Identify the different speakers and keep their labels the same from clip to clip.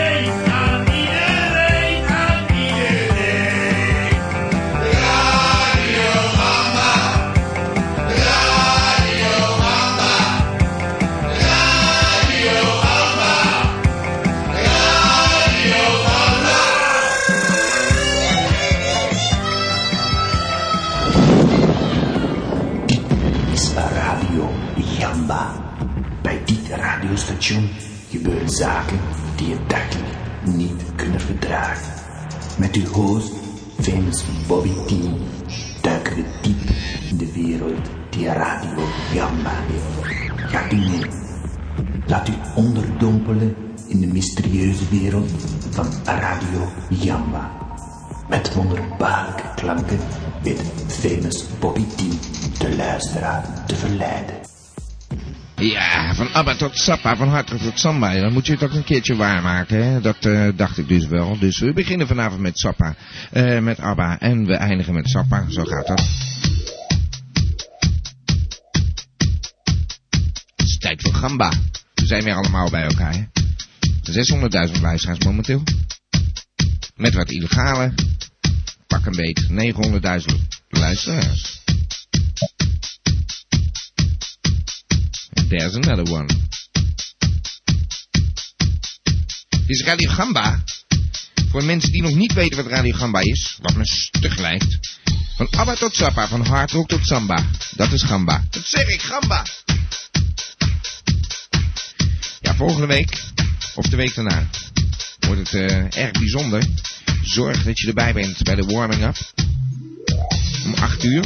Speaker 1: Eh,
Speaker 2: zaken die je dagelijks niet kunnen verdragen. Met uw host, famous Bobby T, duiken we diep in de wereld die Radio Gamma heeft. Gaat u mee? Laat u onderdompelen in de mysterieuze wereld van Radio Jamba. Met wonderbaarlijke klanken weet famous Bobby T de luisteraar te verleiden.
Speaker 3: Ja, van Abba tot Sappa, van Hartrug tot Samba. Dan moet je het ook een keertje waarmaken, hè? Dat eh, dacht ik dus wel. Dus we beginnen vanavond met Sappa, eh, met Abba en we eindigen met Sappa. Zo gaat dat. Het is tijd voor Gamba. We zijn weer allemaal bij elkaar, hè? 600.000 luisteraars momenteel. Met wat illegale. Pak een beet, 900.000 luisteraars. There's another one. Dit is Radio Gamba. Voor mensen die nog niet weten wat Radio Gamba is, wat me stug lijkt. Van ABBA tot Zappa, van hardrock tot samba. Dat is Gamba. Dat zeg ik, Gamba. Ja, volgende week, of de week daarna, wordt het eh, erg bijzonder. Zorg dat je erbij bent bij de warming-up. Om 8 uur.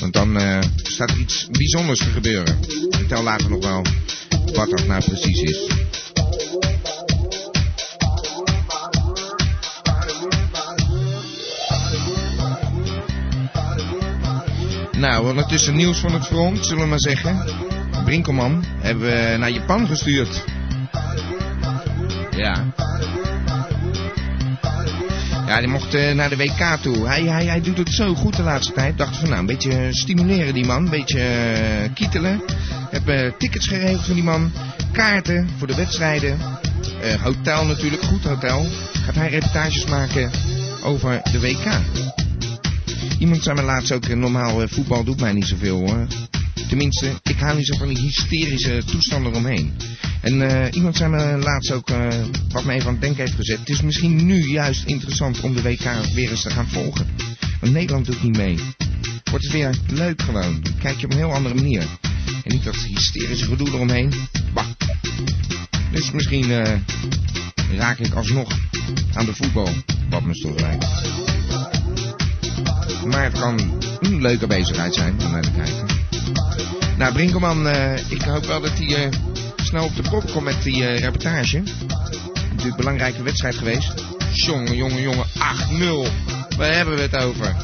Speaker 3: Want dan eh, staat er iets bijzonders te gebeuren. Ik vertel later nog wel wat dat nou precies is. Nou, ondertussen nieuws van het front, zullen we maar zeggen. Brinkelman hebben we naar Japan gestuurd. Ja. Ja, die mocht eh, naar de WK toe. Hij, hij, hij doet het zo goed de laatste tijd. Dacht van nou, een beetje stimuleren die man. Een beetje eh, kietelen. Heb eh, tickets geregeld voor die man. Kaarten voor de wedstrijden. Eh, hotel natuurlijk, goed hotel. Gaat hij reportages maken over de WK. Iemand zei me laatst ook, eh, normaal eh, voetbal doet mij niet zoveel hoor. Tenminste, ik hou niet zo van die hysterische toestanden omheen. En eh, iemand zei me laatst ook, eh, wat me even aan het denken heeft gezet... het is misschien nu juist interessant om de WK weer eens te gaan volgen. Want Nederland doet niet mee. Wordt het weer leuk gewoon. Kijk je op een heel andere manier. En niet dat hysterische gedoe eromheen. Bah. Dus misschien eh, raak ik alsnog aan de voetbal. Wat me stof lijkt. Maar het kan een leuke bezigheid zijn om naar te kijken. Nou, Brinkelman, eh, ik hoop wel dat hij eh, snel op de kop komt met die eh, reportage. Natuurlijk een belangrijke wedstrijd geweest. Jongen, jongen, jongen, 8-0. Waar hebben we het over?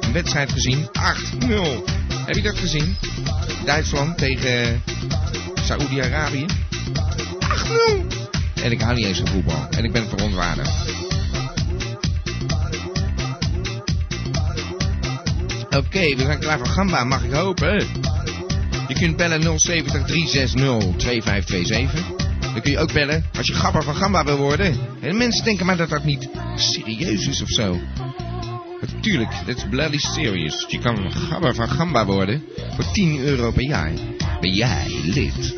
Speaker 3: Een wedstrijd gezien, 8-0. Heb je dat gezien? Duitsland tegen eh, Saoedi-Arabië. 8-0. En ik hou niet eens van voetbal. En ik ben verontwaardigd. Oké, we zijn klaar voor Gamba, mag ik hopen? Je kunt bellen 070 360 2527. Dan kun je ook bellen als je gabber van Gamba wil worden. En mensen denken maar dat dat niet serieus is of zo. Natuurlijk, dat is bloody serious. Je kan gabber van Gamba worden voor 10 euro per jaar. Ben jij lid?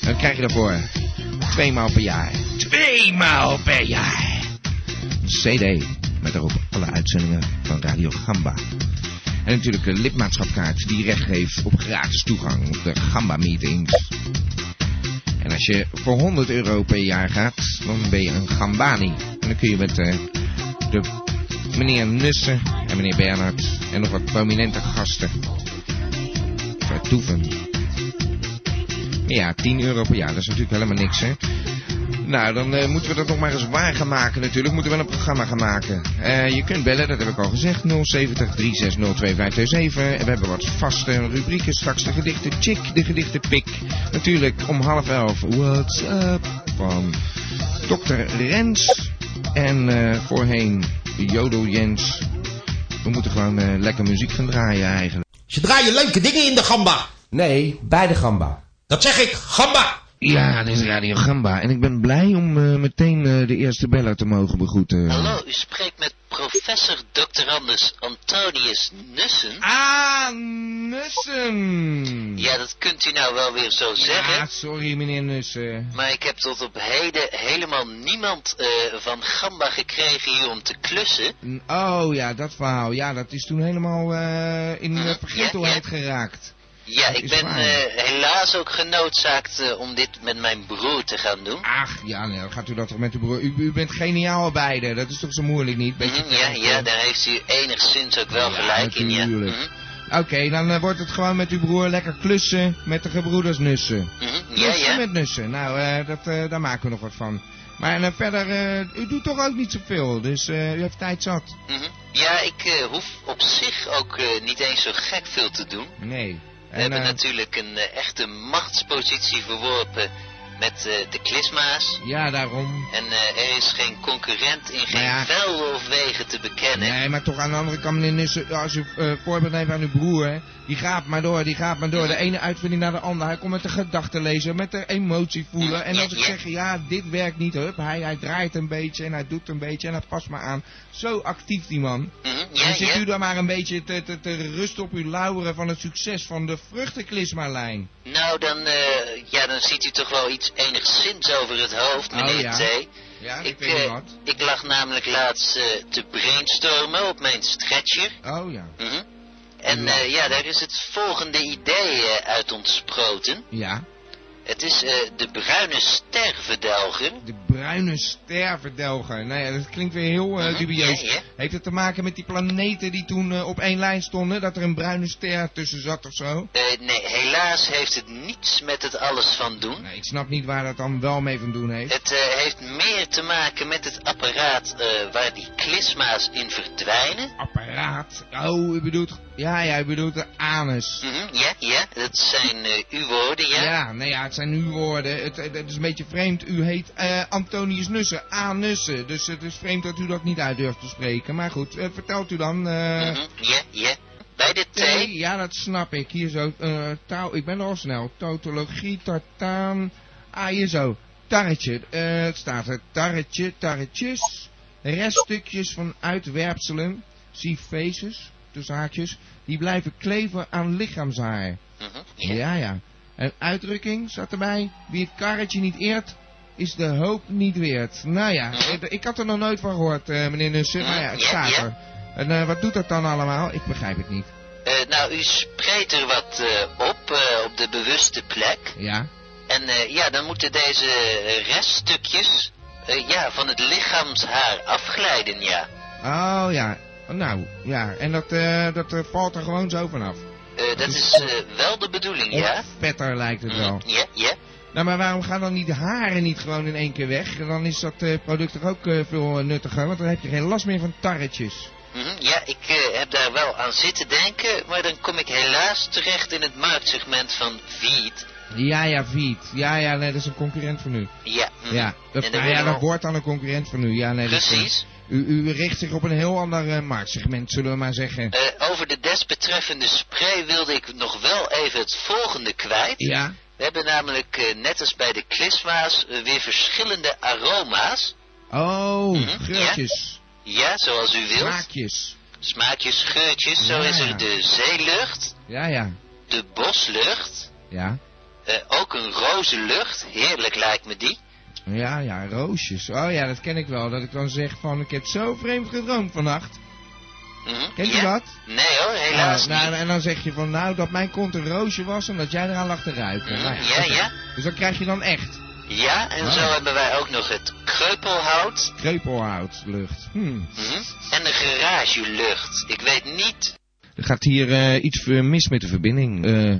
Speaker 3: Dan krijg je daarvoor twee maal per jaar. Twee maal per jaar! Een CD met daarop alle uitzendingen van Radio Gamba. En natuurlijk een lidmaatschapkaart die recht geeft op gratis toegang op de Gamba meetings. En als je voor 100 euro per jaar gaat, dan ben je een Gambani. En dan kun je met eh, de meneer Nussen en meneer Bernhard en nog wat prominente gasten vertoeven. Maar Ja, 10 euro per jaar, dat is natuurlijk helemaal niks hè. Nou, dan eh, moeten we dat nog maar eens waar gaan maken natuurlijk. Moeten we wel een programma gaan maken. Eh, je kunt bellen, dat heb ik al gezegd. 070 360 2527. En we hebben wat vaste rubrieken. Straks de gedichten chick, de gedichten pik. Natuurlijk om half elf. What's up van Dr. Rens. En eh, voorheen Jodo Jens. We moeten gewoon eh, lekker muziek gaan draaien eigenlijk.
Speaker 4: Ze draaien leuke dingen in de gamba.
Speaker 5: Nee, bij de gamba.
Speaker 4: Dat zeg ik, gamba.
Speaker 3: Ja, dit is Radio Gamba. En ik ben blij om eh, meteen eh, de eerste beller te mogen begroeten.
Speaker 6: Hallo, u spreekt met professor doctorandus Antonius Nussen.
Speaker 3: Ah, Nussen!
Speaker 6: Ja, dat kunt u nou wel weer zo
Speaker 3: Ja,
Speaker 6: zeggen.
Speaker 3: sorry meneer Nussen.
Speaker 6: Maar ik heb tot op heden helemaal niemand eh, van Gamba gekregen hier om te klussen.
Speaker 3: N- Oh ja, dat verhaal. Ja, dat is toen helemaal eh, in eh, vergetelheid geraakt.
Speaker 6: Ja,
Speaker 3: Dat
Speaker 6: ik
Speaker 3: is
Speaker 6: ben
Speaker 3: waar.
Speaker 6: eh, helaas ook genoodzaakt eh, om dit met mijn broer te gaan doen.
Speaker 3: Ach, ja, nou, gaat u dat toch met uw broer... U, u bent geniaal beide, dat is toch zo moeilijk niet? Beetje
Speaker 7: Mm,
Speaker 6: Mhm, ja, ja, daar heeft u enigszins ook wel
Speaker 3: Ja,
Speaker 6: gelijk in, ja.
Speaker 3: natuurlijk.
Speaker 6: Mhm,
Speaker 3: Oké, dan eh, wordt het gewoon met uw broer lekker klussen met de gebroeders nussen.
Speaker 6: mhm, Ja,
Speaker 3: Klussen
Speaker 6: ja.
Speaker 3: met nussen, nou, eh, dat, eh, daar maken we nog wat van. Maar eh, verder, eh, u doet toch ook niet zoveel, dus eh, u heeft tijd zat.
Speaker 6: mhm. Ja, ik eh, hoef op zich ook eh, niet eens zo gek veel te doen.
Speaker 3: Nee.
Speaker 6: We hebben
Speaker 3: eh,
Speaker 6: natuurlijk een eh, echte machtspositie verworpen met eh, de klisma's.
Speaker 3: ja, daarom.
Speaker 6: En eh, er is geen concurrent in geen
Speaker 3: Nou ja.
Speaker 6: velden of wegen te bekennen.
Speaker 3: Nee, maar toch aan de andere kant, meneer Nussen, als u eh voorbeeld neemt aan uw broer, hè, die gaat maar door, die gaat maar door. De ene uitvinding naar de andere. Hij komt met de gedachten lezen, met de emotie voelen. En als ik zeg, ja, dit werkt niet, hup, hij, hij draait een beetje en hij doet een beetje en hij past maar aan. Zo actief die man.
Speaker 6: Mhm,
Speaker 3: En
Speaker 6: Ja,
Speaker 3: zit
Speaker 6: ja.
Speaker 3: u dan maar een beetje te, te, te rusten op uw lauweren van het succes van de vruchtenklismalijn.
Speaker 6: Nou, dan, eh, ja, dan ziet u toch wel iets enigszins over het hoofd,
Speaker 3: Oh,
Speaker 6: meneer
Speaker 3: ja.
Speaker 6: T.
Speaker 3: Ja, ik
Speaker 6: Ik,
Speaker 3: weet niet
Speaker 6: eh,
Speaker 3: wat.
Speaker 6: ik lag namelijk laatst eh, te brainstormen op mijn stretcher.
Speaker 3: Oh ja.
Speaker 6: Mhm. En eh, ja, daar is het volgende idee eh, uit ontsproten.
Speaker 3: Ja,
Speaker 6: Het is eh, de bruine sterverdelger.
Speaker 3: de bruine sterverdelger. Nou ja, dat klinkt weer heel eh,
Speaker 6: Mhm,
Speaker 3: dubieus.
Speaker 6: ja, ja.
Speaker 3: Heeft het te maken met die planeten die toen eh, op één lijn stonden? Dat er een bruine ster tussen zat of zo?
Speaker 6: Eh, nee, helaas heeft het niets met het alles van doen.
Speaker 3: Nee, ik snap niet waar dat dan wel mee van doen heeft.
Speaker 6: Het eh, heeft meer te maken met het apparaat eh, waar die klisma's in verdwijnen.
Speaker 3: Apparaat. Oh, u bedoelt... Ja, ja, u bedoelt de anus.
Speaker 6: Mhm, ja, ja, dat zijn eh, uw woorden, ja.
Speaker 3: Ja, nee, ja, het zijn uw woorden. Het, het, het is een beetje vreemd. U heet eh, Antonius Nussen. A. Nussen. Dus het is vreemd dat u dat niet uit durft te spreken. Maar goed, eh, vertelt u dan... eh,
Speaker 6: Mhm, ja, ja. Bij de
Speaker 3: Nee,
Speaker 6: thee.
Speaker 3: ja, dat snap ik. Hier zo, eh touw, ik ben al snel. Totologie, tartaan. Ah, hier zo. Tarretje. Eh, het staat er. Tarretje, tarretjes. Reststukjes van uitwerpselen. Zie faces, tussen haakjes. Die blijven kleven aan lichaamshaar.
Speaker 6: Mhm, ja.
Speaker 3: Ja, ja. Een uitdrukking staat erbij. Wie het karretje niet eert, is de hoop niet weert. Nou ja, eh, ik had er nog nooit van gehoord, eh, meneer Nussen. Maar ja, het staat er. En eh, wat doet dat dan allemaal? Ik begrijp het niet.
Speaker 6: Eh, nou, u spreekt er wat eh, op, eh, op de bewuste plek.
Speaker 3: Ja.
Speaker 6: En eh, ja, dan moeten deze eh, reststukjes eh, ja, van het lichaamshaar afglijden, ja.
Speaker 3: Oh ja, nou ja, en dat, eh, dat eh, valt er gewoon zo vanaf.
Speaker 6: Eh, dat is eh, wel de bedoeling, ja.
Speaker 3: Of vetter lijkt het wel.
Speaker 6: Mhm, Ja, ja.
Speaker 3: Nou, maar waarom gaan dan die haren niet gewoon in één keer weg? Dan is dat eh, product toch ook eh, veel eh, nuttiger, want dan heb je geen last meer van tarretjes.
Speaker 6: Mhm, Ja, ik eh, heb daar wel aan zitten denken, maar dan kom ik helaas terecht in het marktsegment van Viet.
Speaker 3: Ja, ja, Viet. Ja, ja, nee, dat is een concurrent van u.
Speaker 6: Ja, mhm.
Speaker 3: Ja, dat,
Speaker 6: En
Speaker 3: nou
Speaker 6: daar
Speaker 3: ja,
Speaker 6: worden
Speaker 3: dat
Speaker 6: al-
Speaker 3: wordt dan een concurrent van u. Ja, nee, dat is-
Speaker 6: precies.
Speaker 3: u, u richt zich op een heel ander eh, marktsegment, zullen we maar zeggen.
Speaker 6: Eh, over de desbetreffende spray wilde ik nog wel even het volgende kwijt.
Speaker 3: Ja,
Speaker 6: We hebben namelijk, eh, net als bij de klisma's, eh, weer verschillende aroma's.
Speaker 3: oh,
Speaker 6: Mhm,
Speaker 3: geurtjes,
Speaker 6: Ja, zoals u wilt.
Speaker 3: smaakjes.
Speaker 6: Smaakjes, geurtjes. Zo
Speaker 3: Ja.
Speaker 6: is er de zeelucht,
Speaker 3: Ja, ja,
Speaker 6: de boslucht,
Speaker 3: ja.
Speaker 6: eh, ook een rozenlucht. Heerlijk lijkt me die.
Speaker 3: Ja, ja, roosjes. Oh ja, dat ken ik wel. Dat ik dan zeg van, ik heb zo vreemd gedroomd vannacht.
Speaker 6: Mhm,
Speaker 3: Kent u
Speaker 6: ja.
Speaker 3: dat?
Speaker 6: Nee hoor, helaas
Speaker 3: Nou, nou,
Speaker 6: niet.
Speaker 3: en dan zeg je van, nou, dat mijn kont een roosje was en dat jij eraan lag te ruiken.
Speaker 6: Mhm,
Speaker 3: Nou
Speaker 6: ja,
Speaker 3: oké.
Speaker 6: ja.
Speaker 3: Dus dan krijg je dan echt
Speaker 6: Ja, en
Speaker 3: Ah.
Speaker 6: zo hebben wij ook nog het kreupelhout
Speaker 3: kreupelhoutlucht. Hm.
Speaker 6: mhm, en de garagelucht. Ik weet niet.
Speaker 3: Er gaat hier eh, iets eh, mis met de verbinding. Eh,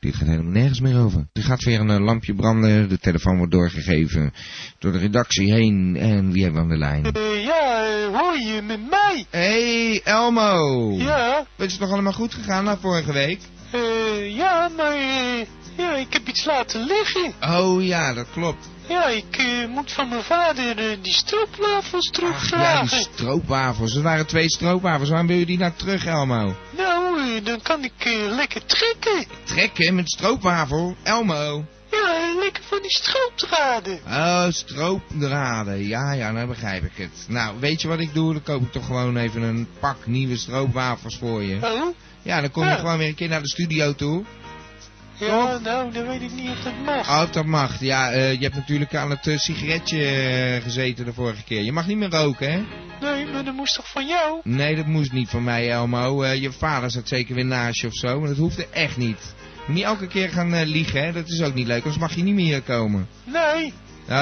Speaker 3: dit gaat helemaal nergens meer over. Er gaat weer een eh, lampje branden. De telefoon wordt doorgegeven door de redactie heen. En wie hebben we aan de lijn?
Speaker 1: ja, eh, hoor je met mij?
Speaker 3: hey, Elmo.
Speaker 1: Ja,
Speaker 3: Is het nog allemaal goed gegaan na vorige week?
Speaker 1: eh, ja, maar eh, ja, ik heb iets laten liggen.
Speaker 3: Oh ja, dat klopt.
Speaker 1: Ja, ik eh, moet van mijn vader eh, die stroopwafels
Speaker 3: Ach, ja, die
Speaker 1: terugvragen.
Speaker 3: stroopwafels. Er waren twee stroopwafels. Waarom wil je die nou terug, Elmo?
Speaker 1: nou, eh, dan kan ik eh, lekker trekken.
Speaker 3: Trekken met stroopwafel? Elmo.
Speaker 1: Ja, eh, lekker van die stroopdraden.
Speaker 3: Oh, stroopdraden. Ja, ja, nou begrijp ik het. Nou, weet je wat ik doe? Dan koop ik toch gewoon even een pak nieuwe stroopwafels voor je.
Speaker 1: Oh?
Speaker 3: Ja, dan kom je
Speaker 1: Ja.
Speaker 3: gewoon weer een keer naar de studio toe.
Speaker 1: Ja, nou, dan weet ik niet of dat mag.
Speaker 3: Oh, dat mag. Ja, eh, je hebt natuurlijk aan het eh, sigaretje eh, gezeten de vorige keer. Je mag niet meer roken, hè?
Speaker 1: Nee, maar dat moest toch van jou?
Speaker 3: Nee, dat moest niet van mij, Elmo. Eh, je vader zat zeker weer naast je of zo, maar dat hoefde echt niet. Moet niet elke keer gaan eh, liegen, hè? Dat is ook niet leuk, anders mag je niet meer hier komen.
Speaker 1: Nee,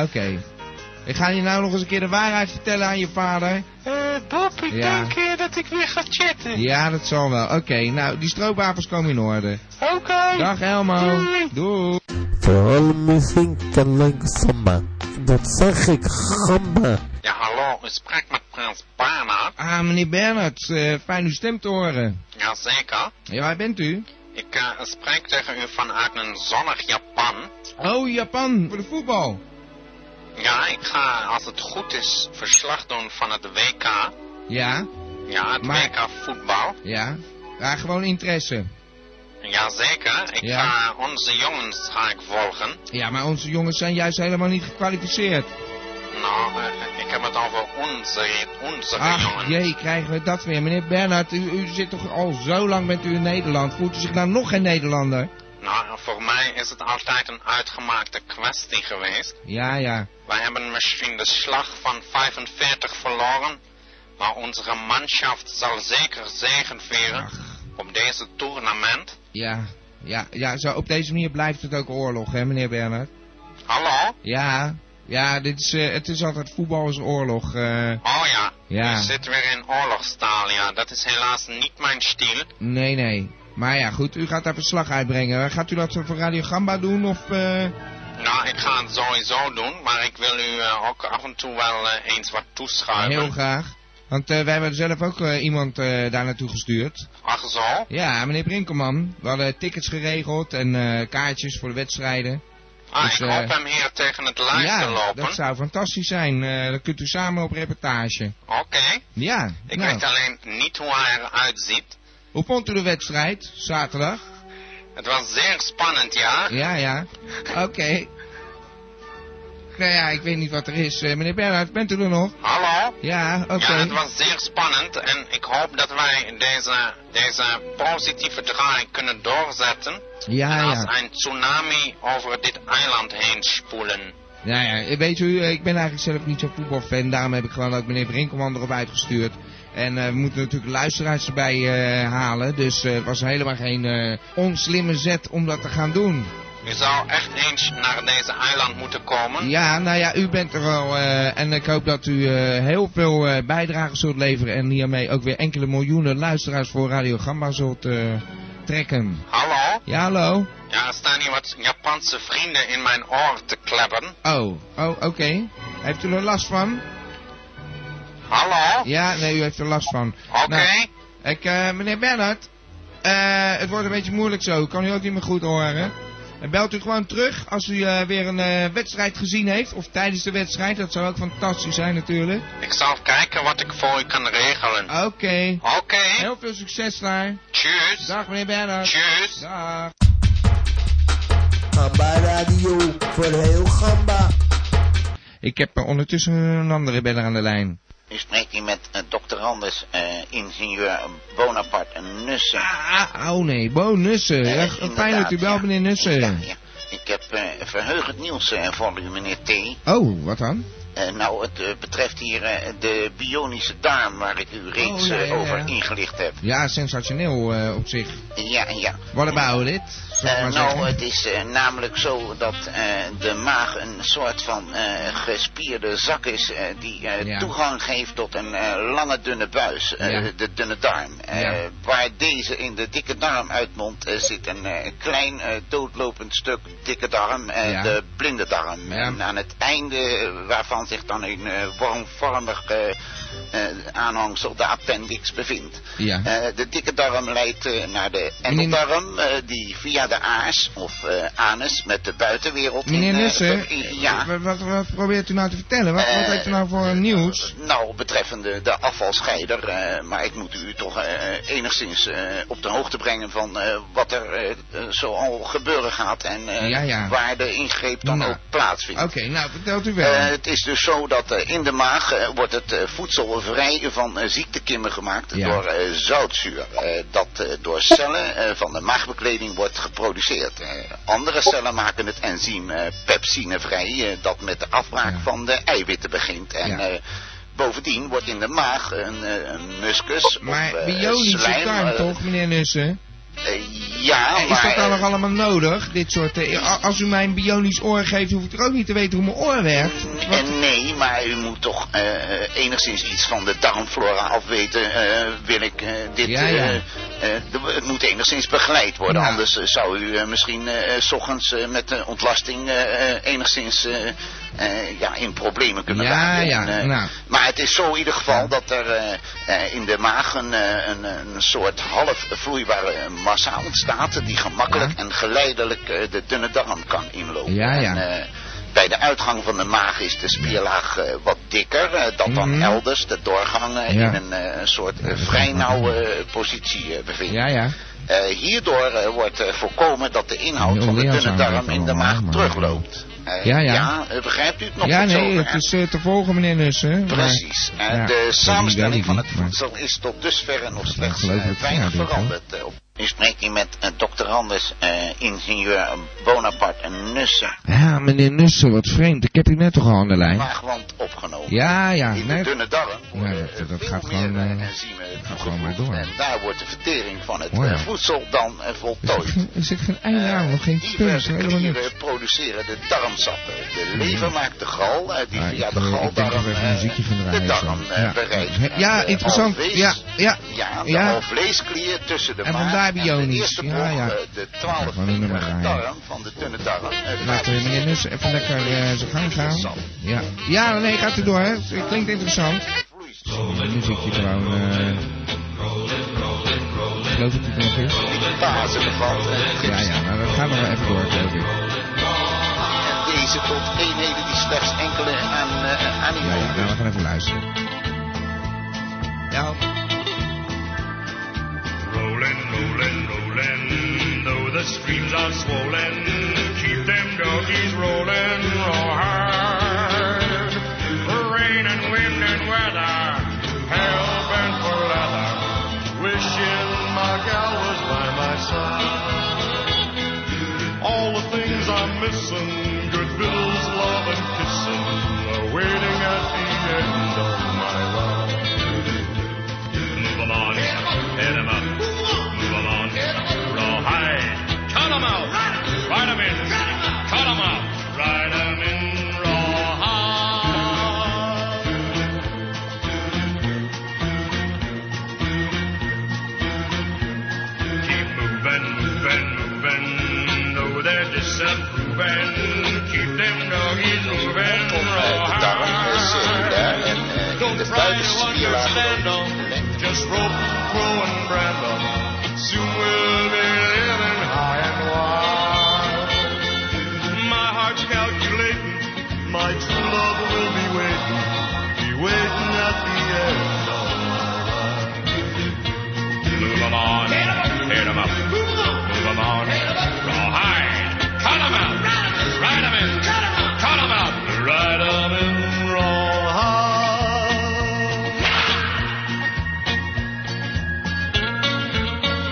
Speaker 3: Oké. Ik ga je nou nog eens een keer de waarheid vertellen aan je vader.
Speaker 1: eh Bob, ik
Speaker 3: Ja.
Speaker 1: denk eh, dat ik weer ga chatten.
Speaker 3: Ja, dat zal wel. Oké, nou, die stroopwafels komen in orde.
Speaker 1: Oké.
Speaker 3: Dag, Elmo.
Speaker 1: Doei.
Speaker 3: Doei.
Speaker 8: Vooral muziek en leuk samba. Dat zeg ik, gamba.
Speaker 4: Ja, hallo, u spreekt met Prins Bernhard.
Speaker 3: Ah, meneer Bernhard, eh, fijn uw stem te horen.
Speaker 4: Jazeker.
Speaker 3: Ja, waar bent u?
Speaker 4: Ik eh, spreek tegen u vanuit een zonnig Japan.
Speaker 3: Oh, Japan, voor de voetbal.
Speaker 4: Ja, ik ga, als het goed is, verslag doen van het WK.
Speaker 3: Ja,
Speaker 4: Ja, het
Speaker 3: Maar-
Speaker 4: WK voetbal.
Speaker 3: ja. Ja, gewoon interesse.
Speaker 4: Jazeker. Ik
Speaker 3: Ja.
Speaker 4: ga onze jongens ga ik volgen.
Speaker 3: Ja, maar onze jongens zijn juist helemaal niet gekwalificeerd.
Speaker 4: Nou, eh, ik heb het over onze, onze
Speaker 3: Ach,
Speaker 4: jongens.
Speaker 3: Ah, jee, krijgen we dat weer. Meneer Bernhard, u, u zit toch al zo lang bent u in Nederland. Voelt u zich nou nog geen Nederlander?
Speaker 4: Nou, voor mij is het altijd een uitgemaakte kwestie geweest.
Speaker 3: Ja, ja.
Speaker 4: Wij hebben misschien de slag van 45 verloren, maar onze manschaft zal zeker zegen vieren op deze tournament.
Speaker 3: Ja, ja, ja. Zo, op deze manier blijft het ook oorlog, hè, meneer Bernhard?
Speaker 4: Hallo?
Speaker 3: Ja, ja, dit is, eh, het is altijd voetbal is oorlog. eh.
Speaker 4: Oh ja,
Speaker 3: Ja.
Speaker 4: ik zit weer in oorlogstaal, ja. Dat is helaas niet mijn stil.
Speaker 3: nee, nee. Maar ja, goed, u gaat daar verslag uitbrengen. Gaat u dat voor Radio Gamba doen of... eh,
Speaker 4: Nou, ik ga het sowieso doen, maar ik wil u eh, ook af en toe wel eh, eens wat toeschuiven.
Speaker 3: Heel graag. Want eh, wij hebben zelf ook eh, iemand eh, daar naartoe gestuurd.
Speaker 4: Ach zo?
Speaker 3: Ja, meneer Brinkelman. We hadden tickets geregeld en eh, kaartjes voor de wedstrijden.
Speaker 4: Ah,
Speaker 3: Dus,
Speaker 4: ik
Speaker 3: eh,
Speaker 4: hoop hem hier tegen het lijf te
Speaker 3: ja,
Speaker 4: lopen.
Speaker 3: dat zou fantastisch zijn. Eh, dan kunt u samen op reportage.
Speaker 4: Oké,
Speaker 3: Ja,
Speaker 4: ik
Speaker 3: nou.
Speaker 4: weet alleen niet hoe hij eruit ziet.
Speaker 3: Hoe vond u de wedstrijd? Zaterdag?
Speaker 4: Het was zeer spannend, ja.
Speaker 3: Ja, ja. Oké. Nou ja, ik weet niet wat er is. Eh, meneer Bernhard, bent u er nog?
Speaker 4: Hallo?
Speaker 3: Ja, oké.
Speaker 4: Ja, het was zeer spannend en ik hoop dat wij deze, deze positieve draai kunnen doorzetten.
Speaker 3: ja,
Speaker 4: en als
Speaker 3: Ah, ja.
Speaker 4: een tsunami over dit eiland heen spoelen.
Speaker 3: Nou ja, weet u, eh, ik ben eigenlijk zelf niet zo'n voetbalfan. Daarom heb ik gewoon ook meneer Brinkelman erop uitgestuurd. En eh, we moeten natuurlijk luisteraars erbij eh, halen. Dus eh, het was helemaal geen eh, onslimme zet om dat te gaan doen.
Speaker 4: U zou echt eens naar deze eiland moeten komen.
Speaker 3: Ja, nou ja, u bent er wel. eh, en ik hoop dat u eh, heel veel eh bijdragen zult leveren. En hiermee ook weer enkele miljoenen luisteraars voor Radio Gamba zult eh, trekken.
Speaker 4: Hallo?
Speaker 3: Ja, hallo?
Speaker 4: Ja, er staan hier wat Japanse vrienden in mijn oor te klebben.
Speaker 3: Oh, oh oké. Heeft u er last van?
Speaker 4: Hallo?
Speaker 3: Ja, nee, u heeft er last van.
Speaker 4: Oké.
Speaker 3: Nou, Ik, eh, meneer Bernhard, eh, het wordt een beetje moeilijk zo. Ik kan u ook niet meer goed horen. En belt u gewoon terug als u eh, weer een eh, wedstrijd gezien heeft. Of tijdens de wedstrijd. Dat zou ook fantastisch zijn natuurlijk.
Speaker 4: Ik zal kijken wat ik voor u kan regelen.
Speaker 3: Oké.
Speaker 4: Oké.
Speaker 3: Heel veel succes daar.
Speaker 4: Tjus.
Speaker 3: Dag meneer Bernhard.
Speaker 4: Tjus.
Speaker 3: Dag.
Speaker 8: Gamba Radio, voor heel gamba.
Speaker 3: Ik heb eh, ondertussen een andere beller aan de lijn.
Speaker 7: U spreekt hier met eh, dokter Anders, eh, ingenieur Bonaparte Nussen.
Speaker 3: Ah, ah, oh nee, Bo Nussen.
Speaker 7: Eh,
Speaker 3: Ja, fijn
Speaker 7: inderdaad,
Speaker 3: dat u belt
Speaker 7: ja.
Speaker 3: meneer Nussen.
Speaker 7: Ja, ja. Ik heb eh verheugend nieuws eh, voor u, meneer T.
Speaker 3: Oh, wat dan?
Speaker 7: Eh, nou, het eh, betreft hier eh, de bionische darm waar ik u reeds
Speaker 3: Oh, ja,
Speaker 7: eh,
Speaker 3: ja,
Speaker 7: over
Speaker 3: ja.
Speaker 7: ingelicht heb.
Speaker 3: Ja, sensationeel eh, op zich.
Speaker 7: Ja, ja.
Speaker 3: What about it? Zal ik
Speaker 7: Eh,
Speaker 3: maar zeggen.
Speaker 7: nou, het is eh, namelijk zo dat eh, de maag een soort van eh, gespierde zak is eh, die eh,
Speaker 3: Ja.
Speaker 7: toegang geeft tot een eh, lange dunne buis, eh,
Speaker 3: Ja.
Speaker 7: de dunne darm. Eh,
Speaker 3: Ja.
Speaker 7: Waar deze in de dikke darm uitmondt, eh, zit een eh, klein eh, doodlopend stuk dikke darm, eh,
Speaker 3: Ja.
Speaker 7: de blinde darm.
Speaker 3: Ja.
Speaker 7: En aan het einde eh, waarvan zich dan een eh, wormvormig eh, eh, aanhangsel, de appendix, bevindt.
Speaker 3: Ja.
Speaker 7: Eh, de dikke darm leidt eh, naar de
Speaker 3: Meneer-
Speaker 7: endeldarm, eh, die via de aars of eh, anus met de buitenwereld... in,
Speaker 3: Meneer
Speaker 7: eh,
Speaker 3: Nussen,
Speaker 7: ver- ja.
Speaker 3: wat, wat, wat probeert u nou te vertellen? Wat, wat
Speaker 7: Eh,
Speaker 3: heeft u nou voor nieuws?
Speaker 7: Nou, betreffende de afvalscheider, eh, maar ik moet u toch eh, enigszins eh, op de hoogte brengen van eh, wat er eh, eh, zoal gebeuren gaat en eh,
Speaker 3: Ja, ja.
Speaker 7: waar de ingreep dan
Speaker 3: Nou.
Speaker 7: ook plaatsvindt.
Speaker 3: Oké, nou vertelt u wel.
Speaker 7: Eh, het is dus zo dat eh, in de maag eh, wordt het eh, voedsel vrij van eh, ziektekimmen gemaakt
Speaker 3: Ja.
Speaker 7: door eh, zoutzuur. eh, dat eh, door cellen eh, van de maagbekleding wordt geproduceerd. Eh, andere cellen maken het enzym eh, pepsine vrij, eh, dat met de afbraak
Speaker 3: Ja.
Speaker 7: van de eiwitten begint. En
Speaker 3: Ja.
Speaker 7: eh, Bovendien wordt in de maag een, eh, een muscus
Speaker 3: Maar
Speaker 7: of eh,
Speaker 3: bionische
Speaker 7: slijm...
Speaker 3: darm
Speaker 7: eh,
Speaker 3: toch, meneer Nussen?
Speaker 7: eh, ja,
Speaker 3: Is
Speaker 7: maar...
Speaker 3: dat dan
Speaker 7: eh,
Speaker 3: nog allemaal nodig, dit soort... eh, a- als u mij een bionisch oor geeft, hoef ik toch ook niet te weten hoe mijn oor werkt? Wat-
Speaker 7: Eh, nee, maar u moet toch eh, enigszins iets van de darmflora afweten. eh, wil ik eh, dit...
Speaker 3: Ja, ja.
Speaker 7: eh, eh, de- het moet enigszins begeleid worden.
Speaker 3: Ja.
Speaker 7: Anders eh, zou u eh, misschien eh, eh, s ochtends eh, met de ontlasting eh, eh, enigszins eh, eh, ja, in problemen kunnen
Speaker 3: Ja,
Speaker 7: raken.
Speaker 3: ja,
Speaker 7: En, eh,
Speaker 3: nou.
Speaker 7: Maar het is zo in ieder geval dat er eh, eh, in de maag een, eh, een, een soort half vloeibare massa ontstaat. Die gemakkelijk
Speaker 3: Ja.
Speaker 7: en geleidelijk eh, de dunne darm kan inlopen.
Speaker 3: Ja, ja.
Speaker 7: En, eh, eh, bij de uitgang van de maag is de spierlaag eh, wat dikker eh, dan dan
Speaker 3: Mhm.
Speaker 7: elders. De doorgang eh,
Speaker 3: Ja.
Speaker 7: in een eh, soort eh, vrij nauwe eh, positie eh, bevindt.
Speaker 3: Ja, ja.
Speaker 7: Eh, hierdoor eh, wordt eh, voorkomen dat de inhoud
Speaker 3: Ja,
Speaker 7: van de
Speaker 3: ja,
Speaker 7: dunne
Speaker 3: zou
Speaker 7: darm
Speaker 3: dat
Speaker 7: in de
Speaker 3: allemaal,
Speaker 7: maag
Speaker 3: maar-
Speaker 7: terugloopt. Eh,
Speaker 3: Ja, ja.
Speaker 7: eh, begrijpt u het nog
Speaker 3: Ja,
Speaker 7: tot
Speaker 3: nee,
Speaker 7: zover?
Speaker 3: het is eh, te volgen, meneer Nussen. maar-
Speaker 7: Precies. En
Speaker 3: Ja, dat
Speaker 7: de
Speaker 3: weet ik
Speaker 7: samenstelling van het
Speaker 3: niet, maar-
Speaker 7: voedsel is tot dusverre nog slechts
Speaker 3: geloof
Speaker 7: eh,
Speaker 3: ik,
Speaker 7: weinig
Speaker 3: ja, dit,
Speaker 7: veranderd. eh, op. Nu spreekt u met eh, dokter Anders, eh, ingenieur Bonaparte Nussen,
Speaker 3: Ja, meneer Nussen, wat vreemd. Ik heb u net toch al aan de lijn?
Speaker 7: maagwand opgenomen.
Speaker 3: Ja, ja.
Speaker 7: In
Speaker 3: Ah, Nee,
Speaker 7: de dunne darm worden
Speaker 3: Ja, dat- dat
Speaker 7: veel
Speaker 3: gaat
Speaker 7: meer
Speaker 3: gewoon, eh,
Speaker 7: eh, enzymen
Speaker 3: gaat gewoon maar
Speaker 7: toegevoegd
Speaker 3: door.
Speaker 7: En daar wordt de vertering van het
Speaker 3: Oh ja.
Speaker 7: eh, voedsel dan eh,
Speaker 3: er zit
Speaker 7: voltooid.
Speaker 3: geen- er zit geen einde aan, nog geen
Speaker 7: Eh,
Speaker 3: punt,
Speaker 7: diverse
Speaker 3: helemaal niks.
Speaker 7: klieren produceren de darmsappen. De lever maakt de gal, eh, die
Speaker 3: Ja,
Speaker 7: via
Speaker 3: ik,
Speaker 7: de
Speaker 3: eh,
Speaker 7: galdarm
Speaker 3: ik denk dat we even
Speaker 7: eh,
Speaker 3: muziekje gaan draaien
Speaker 7: de
Speaker 3: zo.
Speaker 7: darm eh,
Speaker 3: Ja.
Speaker 7: bereikt.
Speaker 3: He- ja,
Speaker 7: En de
Speaker 3: interessant.
Speaker 7: alvlees-
Speaker 3: Ja, ja.
Speaker 7: Ja, de
Speaker 3: Ja.
Speaker 7: alvleesklier tussen de
Speaker 3: En
Speaker 7: maag
Speaker 3: vandaar
Speaker 7: en de
Speaker 3: bionisch.
Speaker 7: eerste
Speaker 3: Ja,
Speaker 7: bocht,
Speaker 3: ja.
Speaker 7: eh, de
Speaker 3: Ja, gewoon een nummer
Speaker 7: 12-vingerige
Speaker 3: draaien.
Speaker 7: darm van de dunne darm. eh,
Speaker 3: Laten we meneer Nussen even lekker eh, zijn gang gaan. Ja. ja, nee, gaat u door. hè. Het klinkt interessant.
Speaker 7: Eh,
Speaker 3: Een muziekje gewoon. eh ik geloof dat dit nog is.
Speaker 7: fase bevat. eh,
Speaker 3: Ja, ja, maar we gaan nog wel even door, geloof ik.
Speaker 7: En deze tot eenheden die slechts enkele aan, eh, aan
Speaker 3: Ja, ja, nou, we
Speaker 7: die
Speaker 3: gaan even luisteren. Ja,
Speaker 9: Rolling, rolling, rolling, though the streams are swollen, keep them doggies rolling real hard. Rain and wind and weather, hell bent for leather, wishing my gal was by my side. All the things I'm missing, good vittles, love and kissing, are waiting at the end of my ride. Move along, hit 'em up. Move along, roll high. Cut 'em out, ride 'em in. Cut 'em out, ride 'em in, roll high. Keep moving, moving, moving. Oh, Though they're disapproving, keep them doggies moving, roll
Speaker 7: eh, de darm is eh,
Speaker 9: high.
Speaker 7: daar en eh, in
Speaker 9: Don't
Speaker 7: de
Speaker 9: try to
Speaker 7: buitenspierlaag
Speaker 9: understand them. Just rope, grow, and brand them. Soon we'll be living high and wild. My heart's calculating. My true love will be waiting. Be waiting at the end of my ride. Move 'em on, hit 'em up. Move 'em on, rawhide. Cut 'em out, ride 'em in. Cut 'em out, ride 'em in, rawhide.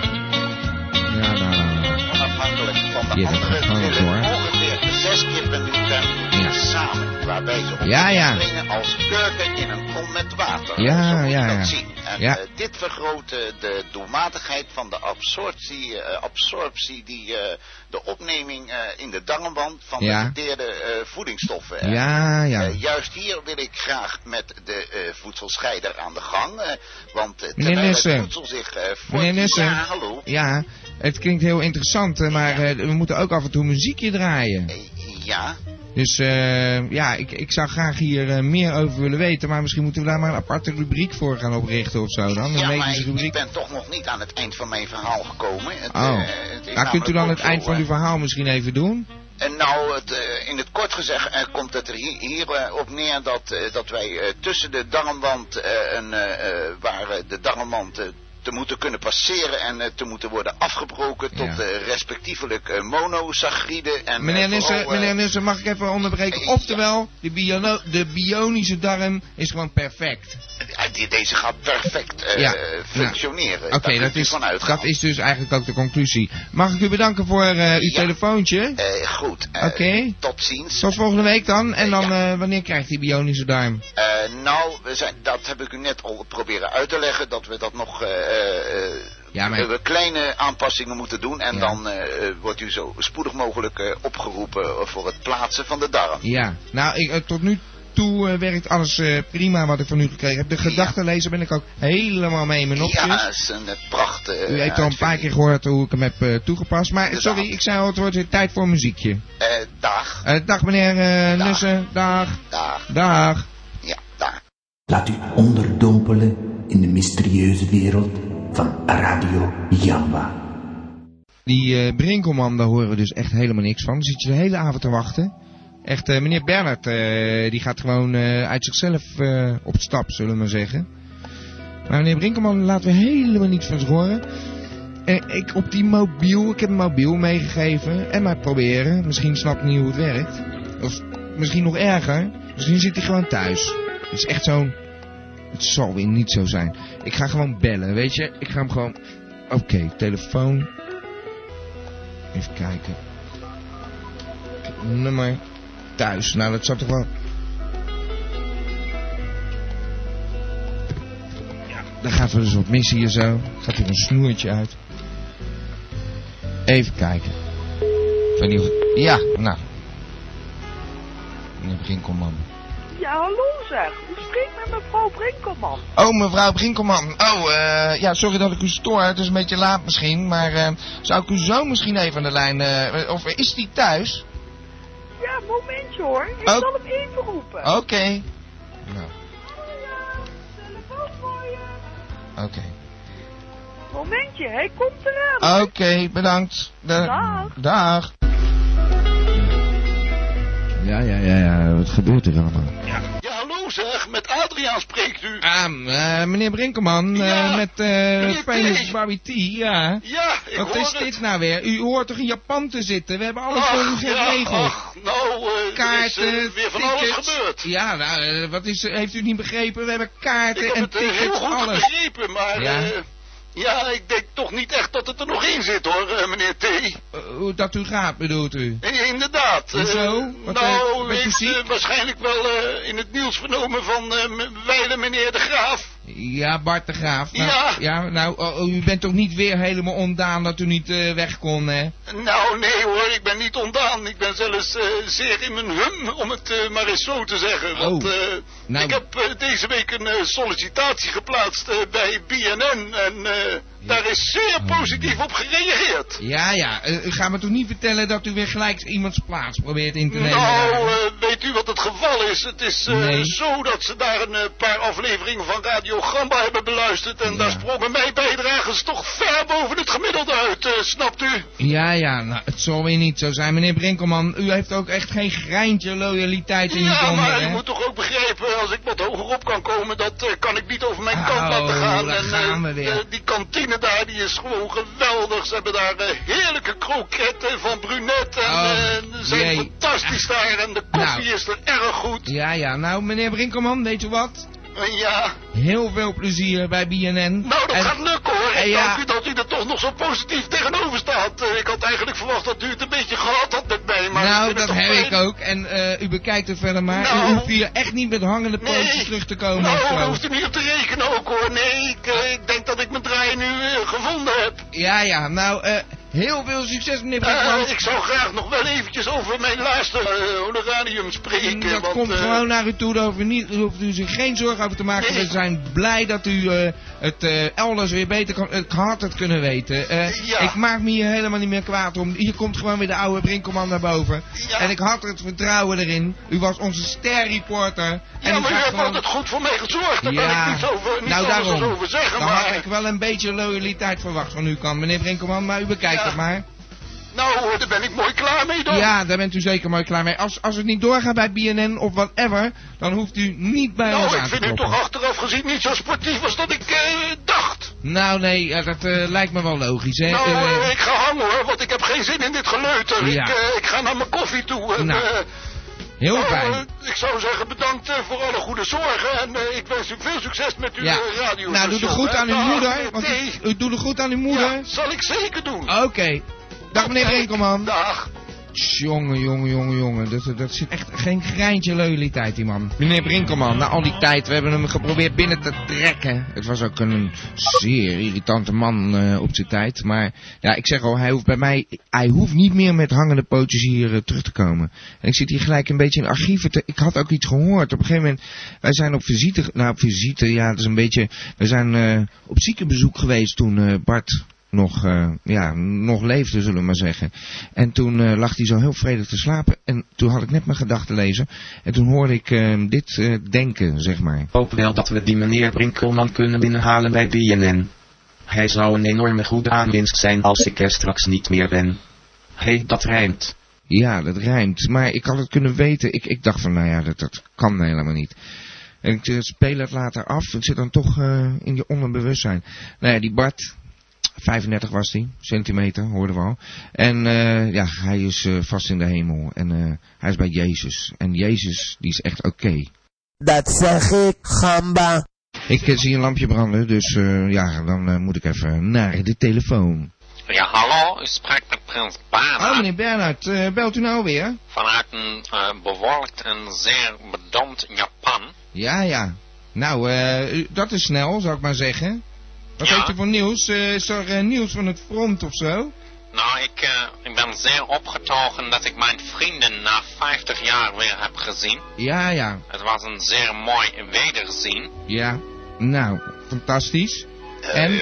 Speaker 3: ja, nou, nou, nou.
Speaker 7: Afhankelijk van de
Speaker 3: Ja, dat
Speaker 7: andere
Speaker 3: gaat gewoon
Speaker 7: pillen
Speaker 3: door.
Speaker 7: ongeveer zes keer per minuut
Speaker 3: Ja.
Speaker 7: tempo samen. Waarbij ze op
Speaker 3: Ja, ja.
Speaker 7: springen als kurken in een kom met water.
Speaker 3: Ja,
Speaker 7: Zo moet je
Speaker 3: ja,
Speaker 7: dat
Speaker 3: ja.
Speaker 7: zien. En
Speaker 3: Ja.
Speaker 7: eh, dit vergroot eh, de doelmatigheid van de absorptie, eh, absorptie die eh, de opneming eh, in de darmwand van
Speaker 3: Ja.
Speaker 7: de verteerde eh, voedingsstoffen. eh,
Speaker 3: Ja, ja.
Speaker 7: Eh, juist hier wil ik graag met de eh, voedselscheider aan de gang. eh, want eh,
Speaker 3: Meneer
Speaker 7: terwijl
Speaker 3: Nussen.
Speaker 7: het voedsel zich eh voort-
Speaker 3: Meneer Nussen.
Speaker 7: Ja, hallo.
Speaker 3: Ja, het klinkt heel interessant, eh, maar eh, we moeten ook af en toe muziekje draaien.
Speaker 7: Eh, ja,
Speaker 3: Dus eh, ja, ik, ik zou graag hier eh, meer over willen weten, maar misschien moeten we daar maar een aparte rubriek voor gaan oprichten of zo dan. Een
Speaker 7: ja maar
Speaker 3: medische
Speaker 7: ik, ik
Speaker 3: rubriek.
Speaker 7: ben toch nog niet aan het eind van mijn verhaal gekomen. Het,
Speaker 3: Oh,
Speaker 7: eh, het is
Speaker 3: nou, kunt u
Speaker 7: namelijk
Speaker 3: dan
Speaker 7: ook
Speaker 3: het
Speaker 7: zo,
Speaker 3: eind van
Speaker 7: eh,
Speaker 3: uw verhaal misschien even doen?
Speaker 7: En nou, het, eh, in het kort gezegd eh, komt het er hi- hier, eh, op neer dat, eh, dat wij eh, tussen de darmwand, eh, een, eh, eh, waar eh, de darmwand eh,
Speaker 1: te moeten kunnen passeren en eh, te moeten worden afgebroken tot
Speaker 3: Ja.
Speaker 1: eh, respectievelijk eh, monosaccharide en eh,
Speaker 3: Meneer
Speaker 1: vooral,
Speaker 3: Nussen,
Speaker 1: eh,
Speaker 3: meneer Nussen, mag ik even onderbreken?
Speaker 1: ja.
Speaker 3: Oftewel, de, biono- de bionische darm is gewoon perfect.
Speaker 1: eh, die- deze gaat perfect eh,
Speaker 3: Ja.
Speaker 1: functioneren.
Speaker 3: Oké,
Speaker 1: Daar
Speaker 3: dat,
Speaker 1: kunt u
Speaker 3: is,
Speaker 1: van uitgaan.
Speaker 3: dat is dus eigenlijk ook de conclusie. Mag ik u bedanken voor eh, uw
Speaker 1: Ja.
Speaker 3: telefoontje?
Speaker 1: Eh, goed, eh,
Speaker 3: Oké.
Speaker 1: tot ziens.
Speaker 3: Tot volgende week dan. En
Speaker 1: Eh,
Speaker 3: dan,
Speaker 1: ja.
Speaker 3: eh, wanneer krijgt die bionische darm?
Speaker 1: Eh, nou, we zijn, dat heb ik u net al proberen uit te leggen, dat we dat nog eh, eh,
Speaker 3: Ja, maar-
Speaker 1: eh, we kleine aanpassingen moeten doen. En
Speaker 3: Ja.
Speaker 1: dan eh, eh, wordt u zo spoedig mogelijk eh, opgeroepen voor het plaatsen van de darm.
Speaker 3: Ja. Nou, ik, eh, tot nu toe eh, werkt alles eh, prima wat ik van u gekregen heb. De gedachtenlezer ben ik ook helemaal mee in mijn nopjes.
Speaker 1: Ja, is een eh, prachtige.
Speaker 3: U heeft al een paar keer gehoord hoe ik hem heb eh, toegepast. Maar
Speaker 1: Inderdaad.
Speaker 3: sorry, ik zei al, het wordt weer tijd voor een muziekje.
Speaker 1: Eh, dag,
Speaker 3: Eh, dag meneer eh,
Speaker 1: Dag.
Speaker 3: Nussen. Dag.
Speaker 1: dag,
Speaker 3: Dag.
Speaker 1: ja, dag.
Speaker 2: Laat u onderdompelen in de mysterieuze wereld van Radio Jamba.
Speaker 3: Die eh Brinkelman, daar horen we dus echt helemaal niks van. Dan zit je de hele avond te wachten. Echt, eh, meneer Bernhard, eh, die gaat gewoon eh, uit zichzelf eh, op stap, zullen we maar zeggen. Maar meneer Brinkelman laten we helemaal niets van zich horen. Eh, ik op die mobiel, ik heb een mobiel meegegeven. En maar proberen. Misschien snapt hij niet hoe het werkt. Of misschien nog erger. Misschien zit hij gewoon thuis. Het is echt zo'n... Het zal weer niet zo zijn. Ik ga gewoon bellen, weet je. Ik ga hem gewoon... Oké, telefoon. Even kijken. Nummer thuis. Nou, dat zat toch wel. Ja, Dan gaat er dus wat mis hier zo. Gaat er een snoertje uit. Even kijken. Ik weet niet of... Ja, nou. Meneer Brinkelman.
Speaker 9: Ja, hallo zeg. U spreekt met mevrouw Brinkelman.
Speaker 3: Oh, mevrouw Brinkelman. Oh, eh, ja, sorry dat ik u stoor. Het is een beetje laat misschien. Maar eh, zou ik u zo misschien even aan de lijn... eh, of is die thuis?
Speaker 9: Ja, momentje hoor. Ik
Speaker 3: Oh.
Speaker 9: zal hem even roepen.
Speaker 3: Oké. Nou,
Speaker 9: Telefoon voor je.
Speaker 3: oké.
Speaker 9: Momentje, hij komt eraan.
Speaker 3: Oké, bedankt. Da-
Speaker 9: Dag.
Speaker 3: Dag. Ja, ja, ja, ja. Wat gebeurt er allemaal?
Speaker 1: Ja, hallo zeg, met Adriaan spreekt u.
Speaker 3: Ah, eh, meneer Brinkelman, eh,
Speaker 1: Ja.
Speaker 3: met eh
Speaker 1: Meneer
Speaker 3: Famous
Speaker 1: T.
Speaker 3: Bobby T, ja.
Speaker 1: Ja, ik
Speaker 3: Wat
Speaker 1: hoor
Speaker 3: is
Speaker 1: het.
Speaker 3: dit nou weer? U hoort toch in Japan te zitten? We hebben alles
Speaker 1: Ach,
Speaker 3: voor u
Speaker 1: ja,
Speaker 3: geregeld.
Speaker 1: ach, nou, eh, er is
Speaker 3: kaarten,
Speaker 1: eh, weer van alles
Speaker 3: tickets.
Speaker 1: gebeurd.
Speaker 3: Ja, nou, eh, wat is, heeft u niet begrepen? We hebben kaarten
Speaker 1: Ik heb
Speaker 3: en
Speaker 1: het eh,
Speaker 3: tickets,
Speaker 1: heel goed
Speaker 3: alles.
Speaker 1: begrepen, maar...
Speaker 3: Ja.
Speaker 1: Ja. ja, ik denk toch niet echt dat het er nog in zit, hoor, eh, meneer T.
Speaker 3: Eh, hoe dat u gaat, bedoelt u?
Speaker 1: Eh, Inderdaad. eh,
Speaker 3: Hoezo? Wat, eh,
Speaker 1: nou,
Speaker 3: bent u
Speaker 1: ik heb
Speaker 3: ziek?
Speaker 1: waarschijnlijk wel eh, in het nieuws vernomen van eh, m- wijle meneer de Graaf.
Speaker 3: Ja, Bart de Graaf. Nou,
Speaker 1: Ja.
Speaker 3: nou, oh, oh, u bent toch niet weer helemaal ondaan dat u niet eh, weg kon, hè?
Speaker 1: Nou, nee hoor, ik ben niet ontdaan. Ik ben zelfs eh, zeer in mijn hum, om het eh, maar eens zo te zeggen. Want
Speaker 3: Oh.
Speaker 1: eh,
Speaker 3: Nou.
Speaker 1: ik heb eh, deze week een eh, sollicitatie geplaatst eh, bij BNN. En eh, daar is zeer positief op gereageerd.
Speaker 3: Ja, ja. eh, u gaat me toch niet vertellen dat u weer gelijk iemands plaats probeert in te nemen?
Speaker 1: Nou,
Speaker 3: daar?
Speaker 1: eh, weet u wat het geval is? Het is eh,
Speaker 3: Nee.
Speaker 1: zo dat ze daar een eh, paar afleveringen van Radio Gamba hebben beluisterd. En daar sprongen mijn bijdragers toch ver boven het gemiddelde uit, eh, snapt u?
Speaker 3: Ja, ja. Nou, het zal weer niet zo zijn. Meneer Brinkelman, u heeft ook echt geen greintje loyaliteit in uw
Speaker 1: Ja,
Speaker 3: handen,
Speaker 1: maar
Speaker 3: hè?
Speaker 1: u moet toch ook begrijpen, als ik wat hoger op kan komen, dat eh, kan ik niet over mijn
Speaker 3: Oh,
Speaker 1: kant laten gaan.
Speaker 3: daar
Speaker 1: En
Speaker 3: gaan we
Speaker 1: eh,
Speaker 3: weer.
Speaker 1: eh, die kantine daar, die is gewoon geweldig. Ze hebben daar eh, heerlijke kroketten van Brunet en
Speaker 3: Oh,
Speaker 1: eh, ze zijn
Speaker 3: jee. Ah.
Speaker 1: fantastisch daar. En de koffie
Speaker 3: Nou.
Speaker 1: is er erg goed.
Speaker 3: Ja, ja. Nou, meneer Brinkelman, weet u wat?
Speaker 1: En ja,
Speaker 3: Heel veel plezier bij BNN.
Speaker 1: nou dat
Speaker 3: En-
Speaker 1: gaat lukken hoor.
Speaker 3: en
Speaker 1: Ik
Speaker 3: ja.
Speaker 1: dank u dat u er toch nog zo positief tegenover staat. Eh, ik had eigenlijk verwacht dat u het een beetje gehad had met mij. Maar
Speaker 3: nou,
Speaker 1: vind
Speaker 3: dat
Speaker 1: toch
Speaker 3: heb
Speaker 1: fijn.
Speaker 3: ik ook. En eh, u bekijkt het verder maar.
Speaker 1: Nou.
Speaker 3: U hoeft hier echt niet met hangende pootjes terug te komen.
Speaker 1: Nou,
Speaker 3: of zo.
Speaker 1: daar hoeft u niet op te rekenen ook hoor. Nee, ik, eh, ik denk dat ik mijn draai nu eh, gevonden heb.
Speaker 3: Ja, ja. Nou, eh, heel veel succes, meneer Brinkelman.
Speaker 1: Eh, ik zou graag nog wel eventjes over mijn laatste eh, honorarium spreken.
Speaker 3: dat
Speaker 1: want,
Speaker 3: komt
Speaker 1: eh,
Speaker 3: gewoon naar u toe, daar hoeft u, niet, daar hoeft u zich geen zorgen over te maken.
Speaker 1: Nee.
Speaker 3: We zijn blij dat u eh, het eh, elders weer beter kan. Ik had het kunnen weten. Eh,
Speaker 1: Ja.
Speaker 3: Ik maak me hier helemaal niet meer kwaad om. Hier komt gewoon weer de oude Brinkelman naar boven.
Speaker 1: Ja.
Speaker 3: En ik had het vertrouwen erin. U was onze sterreporter. en
Speaker 1: Ja,
Speaker 3: u
Speaker 1: maar u
Speaker 3: gaat
Speaker 1: hebt
Speaker 3: gewoon-
Speaker 1: altijd goed voor mij gezorgd. Daar kan ik niets over, niets
Speaker 3: nou
Speaker 1: anders
Speaker 3: daarom.
Speaker 1: over zeggen.
Speaker 3: Dan
Speaker 1: maar
Speaker 3: had ik wel een beetje loyaliteit verwacht van uw kant, meneer Brinkelman. Maar u bekijkt
Speaker 1: Ja.
Speaker 3: het maar.
Speaker 1: nou, hoor, daar ben ik mooi klaar mee dan.
Speaker 3: Ja, daar bent u zeker mooi klaar mee. Als, als het niet doorgaat bij BNN of whatever, dan hoeft u niet bij
Speaker 1: nou,
Speaker 3: ons
Speaker 1: ik
Speaker 10: Oh,
Speaker 3: aan te
Speaker 1: vind u
Speaker 3: kloppen.
Speaker 1: toch achteraf gezien niet zo sportief als dat ik eh, dacht.
Speaker 3: Nou, nee, ja, dat eh, lijkt me wel logisch, hè?
Speaker 1: Nou,
Speaker 3: Eh,
Speaker 1: eh, ik ga hangen hoor, want ik heb geen zin in dit geleuter.
Speaker 3: Ja.
Speaker 1: Ik, eh, ik ga naar mijn koffie toe. En,
Speaker 3: Nou,
Speaker 1: eh,
Speaker 3: heel
Speaker 1: nou,
Speaker 3: fijn.
Speaker 1: eh, ik zou zeggen bedankt eh, voor alle goede zorgen. En eh, ik wens u veel succes met uw
Speaker 3: Ja.
Speaker 1: eh, radio.
Speaker 3: Nou, doe er goed aan uw moeder. Want u, u doet er goed aan uw moeder.
Speaker 1: Ja, zal ik zeker doen.
Speaker 3: Oké. Dag meneer Rinkelman.
Speaker 1: Dag.
Speaker 3: Jongen, jongen, jongen, jongen. Dat, dat zit echt geen greintje leulitijd, die man. Meneer Brinkelman, na al die tijd, we hebben hem geprobeerd binnen te trekken. Het was ook een zeer irritante man eh, op zijn tijd. Maar ja, ik zeg al, hij hoeft bij mij, hij hoeft niet meer met hangende pootjes hier eh, terug te komen. En ik zit hier gelijk een beetje in archieven te, ik had ook iets gehoord. Op een gegeven moment, wij zijn op visite, ge- nou op visite, ja, het is een beetje, we zijn eh, op ziekenbezoek geweest toen eh, Bart nog, eh, ja, nog leefde, zullen we maar zeggen. En toen eh, lag hij zo heel vredig te slapen. En toen had ik net mijn gedachten lezen. En toen hoorde ik eh, dit eh, denken, zeg maar.
Speaker 10: Hoop wel dat we die meneer Brinkelman kunnen binnenhalen bij BNN. Hij zou een enorme goede aanwinst zijn als ik er straks niet meer ben. Hé, hey, dat rijmt.
Speaker 3: Ja, dat rijmt. Maar ik had het kunnen weten. Ik, ik dacht van, nou ja, dat, dat kan helemaal niet. En ik eh, speel het later af. Het zit dan toch eh, in je onderbewustzijn. Nou ja, die Bart, 35 was hij, centimeter, hoorden we al. En eh, ja, hij is eh, vast in de hemel. En eh, hij is bij Jezus. En Jezus, die is echt oké.
Speaker 11: Dat zeg ik, gamba.
Speaker 3: Ik eh, zie een lampje branden, dus eh, ja, dan eh, moet ik even naar de telefoon.
Speaker 4: Ja, hallo, u spreekt met prins Bernhard.
Speaker 3: Oh, meneer Bernhard, eh, belt u nou weer?
Speaker 4: Vanuit een eh, bewolkt en zeer bedompt Japan.
Speaker 3: Ja, ja. Nou, eh, u- dat is snel, zou ik maar zeggen. Wat
Speaker 4: Ja.
Speaker 3: heeft u voor nieuws? Eh, is er eh, nieuws van het front of zo?
Speaker 4: Nou, ik, eh, ik ben zeer opgetogen dat ik mijn vrienden na 50 jaar weer heb gezien.
Speaker 3: Ja, ja.
Speaker 4: Het was een zeer mooi wederzien.
Speaker 3: Ja. Nou, fantastisch.
Speaker 12: Eh,
Speaker 3: En?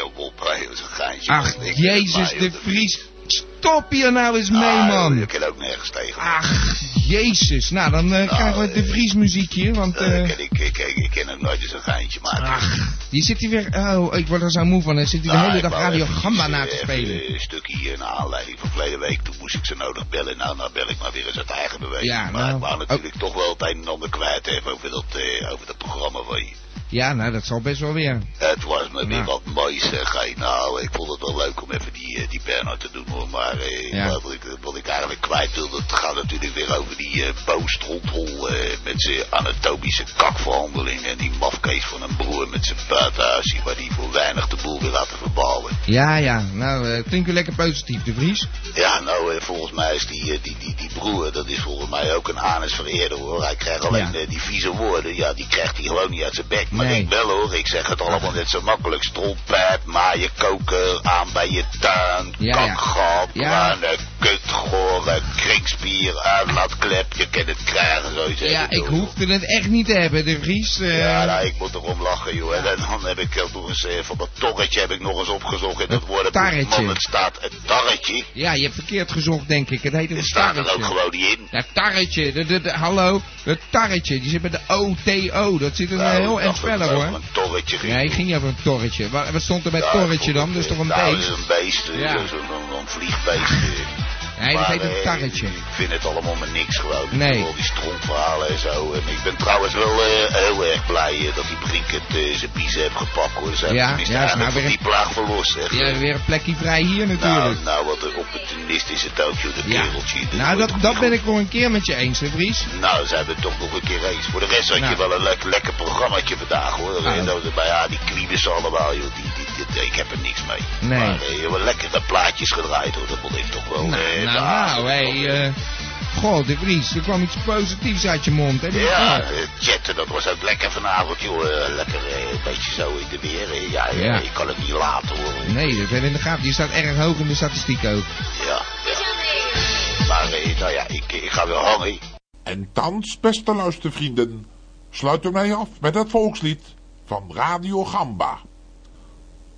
Speaker 3: Ach, Jezus de Vries. Stop hier nou eens mee, man.
Speaker 12: Ah, Ik kan ook nergens tegen.
Speaker 3: Ach, Jezus. Nou, dan eh, krijgen we de Vries muziekje, want... eh,
Speaker 12: Ik, ik, ik, ik kan ook nooit eens een geintje Ah, maken.
Speaker 3: Ach, die zit hier weer... Oh, ik word er zo moe van. Hij zit hier de
Speaker 12: Nou,
Speaker 3: hele
Speaker 12: ik
Speaker 3: dag
Speaker 12: wou
Speaker 3: Radio
Speaker 12: even
Speaker 3: Gamba
Speaker 12: iets,
Speaker 3: na
Speaker 12: eh,
Speaker 3: te
Speaker 12: even,
Speaker 3: spelen.
Speaker 12: eh, Een stukje hier naar aanleiding van verleden week. Toen moest ik ze nodig bellen. Nou, nou bel ik maar weer eens uit eigen beweging.
Speaker 3: Ja,
Speaker 12: maar
Speaker 3: nou,
Speaker 12: ik wou natuurlijk toch wel het een en ander kwijt even over dat, eh, over dat programma van je.
Speaker 3: Ja, nou, dat zal best wel weer.
Speaker 12: Het was me weer
Speaker 3: Nou.
Speaker 12: wat moois, zeg. Hey, nou, ik vond het wel leuk om even die, eh, die Bernhard te doen, hoor. Maar eh,
Speaker 3: Ja.
Speaker 12: wat, ik, wat ik eigenlijk kwijt wil, dat gaat natuurlijk weer over die eh boostrompel eh, met zijn anatomische kakverhandeling. En die mafkees van een broer met zijn buitenhuisje, waar die voor weinig de boel wil laten verbouwen.
Speaker 3: Ja, ja. Nou, eh, klinkt u lekker positief, de Vries.
Speaker 12: Ja, nou, eh, volgens mij is die, eh, die, die, die broer, dat is volgens mij ook een anusvereerder hoor. Hij krijgt alleen
Speaker 3: Ja.
Speaker 12: eh, die vieze woorden, ja, die krijgt hij gewoon niet uit zijn bek. Maar
Speaker 3: Nee.
Speaker 12: ik wel hoor, ik zeg het allemaal net zo makkelijk. Strompeip, maaien, koker, aan bij je tuin,
Speaker 3: Ja, ja.
Speaker 12: kakgap,
Speaker 3: Ja.
Speaker 12: kranen, kutgoren, kringspier, eh, uitlaatklep, je kan het krijgen, zo zeggen.
Speaker 3: Ja, ik hoefde het echt niet te hebben, de Vries. eh.
Speaker 12: Ja, nou, ik moet erom lachen, joh. En dan heb ik ook nog eens eh, van dat torretje heb ik nog eens opgezocht in dat woordenboek.
Speaker 3: tarretje.
Speaker 12: Man, het staat een tarretje.
Speaker 3: Ja, je hebt verkeerd gezocht, denk ik. Het heet een
Speaker 12: Er staat er
Speaker 3: tarretje.
Speaker 12: ook gewoon niet in.
Speaker 3: Dat tarretje, de, de, de- hallo, dat tarretje, die zit met de O-T-O, dat zit er
Speaker 12: Nou,
Speaker 3: eh, heel erg
Speaker 12: ik dacht dat
Speaker 3: verder
Speaker 12: het
Speaker 3: hoor.
Speaker 12: over Een torretje ging.
Speaker 3: Nee, ik ging over een torretje. Wat, wat stond er bij torretje dan? Dus toch een
Speaker 12: Nou, dat is
Speaker 3: beest?
Speaker 12: een beest, eh,
Speaker 3: Ja.
Speaker 12: zo'n zo'n- zo'n vliegbeest. eh.
Speaker 3: Nee, dat
Speaker 12: Maar,
Speaker 3: heet een
Speaker 12: eh,
Speaker 3: tarretje.
Speaker 12: Ik vind het allemaal maar niks gewoon. Ik
Speaker 3: Nee.
Speaker 12: wil Al die strompverhalen en zo. En ik ben trouwens wel eh, heel erg blij eh, dat die Brinkert eh, zijn biezen heeft gepakt hoor. Ze hebben
Speaker 3: Ja,
Speaker 12: tenminste
Speaker 3: ja, is nou
Speaker 12: eindelijk van
Speaker 3: weer-
Speaker 12: die plaag verlost. Echt.
Speaker 3: Ja, weer een plekje vrij hier
Speaker 12: nou,
Speaker 3: natuurlijk.
Speaker 12: nou, wat een opportunistische doodje, de
Speaker 3: Ja.
Speaker 12: kereltje. Dat
Speaker 3: Nou, dat,
Speaker 12: wordt toch
Speaker 3: dat
Speaker 12: niet
Speaker 3: ben ik wel een keer met je eens, de Vries.
Speaker 12: nou, zijn we toch nog een keer eens. Voor de rest had je
Speaker 3: Nou.
Speaker 12: wel een leuk, lekker programmaatje vandaag hoor.
Speaker 3: Nou.
Speaker 12: En dat- maar ja, die kliebes allemaal, joh, die, die, die- ik heb er niks mee.
Speaker 3: Nee.
Speaker 12: Maar eh, je hebt wel lekkere plaatjes gedraaid hoor, dat vond ik toch
Speaker 7: Oh,
Speaker 12: wel.
Speaker 3: Nou,
Speaker 12: eh,
Speaker 3: nou,
Speaker 12: de aardig.
Speaker 3: nou, hé. eh God, de Vries, er kwam iets positiefs uit je mond, hè?
Speaker 12: Ja, eh, chatten, dat was ook lekker vanavond joh. Eh, Lekker eh, een beetje zo in de weer. eh, Ja, ja,
Speaker 3: Ja.
Speaker 12: ik kan het niet laten hoor.
Speaker 3: Nee, dat hebben we in de gaten. Je staat erg hoog in de statistiek ook.
Speaker 12: Ja, ja. Maar eh, nou ja, ik, ik ga weer hangen.
Speaker 13: En thans, beste luistervrienden, sluiten wij af met het volkslied van Radio Gamba.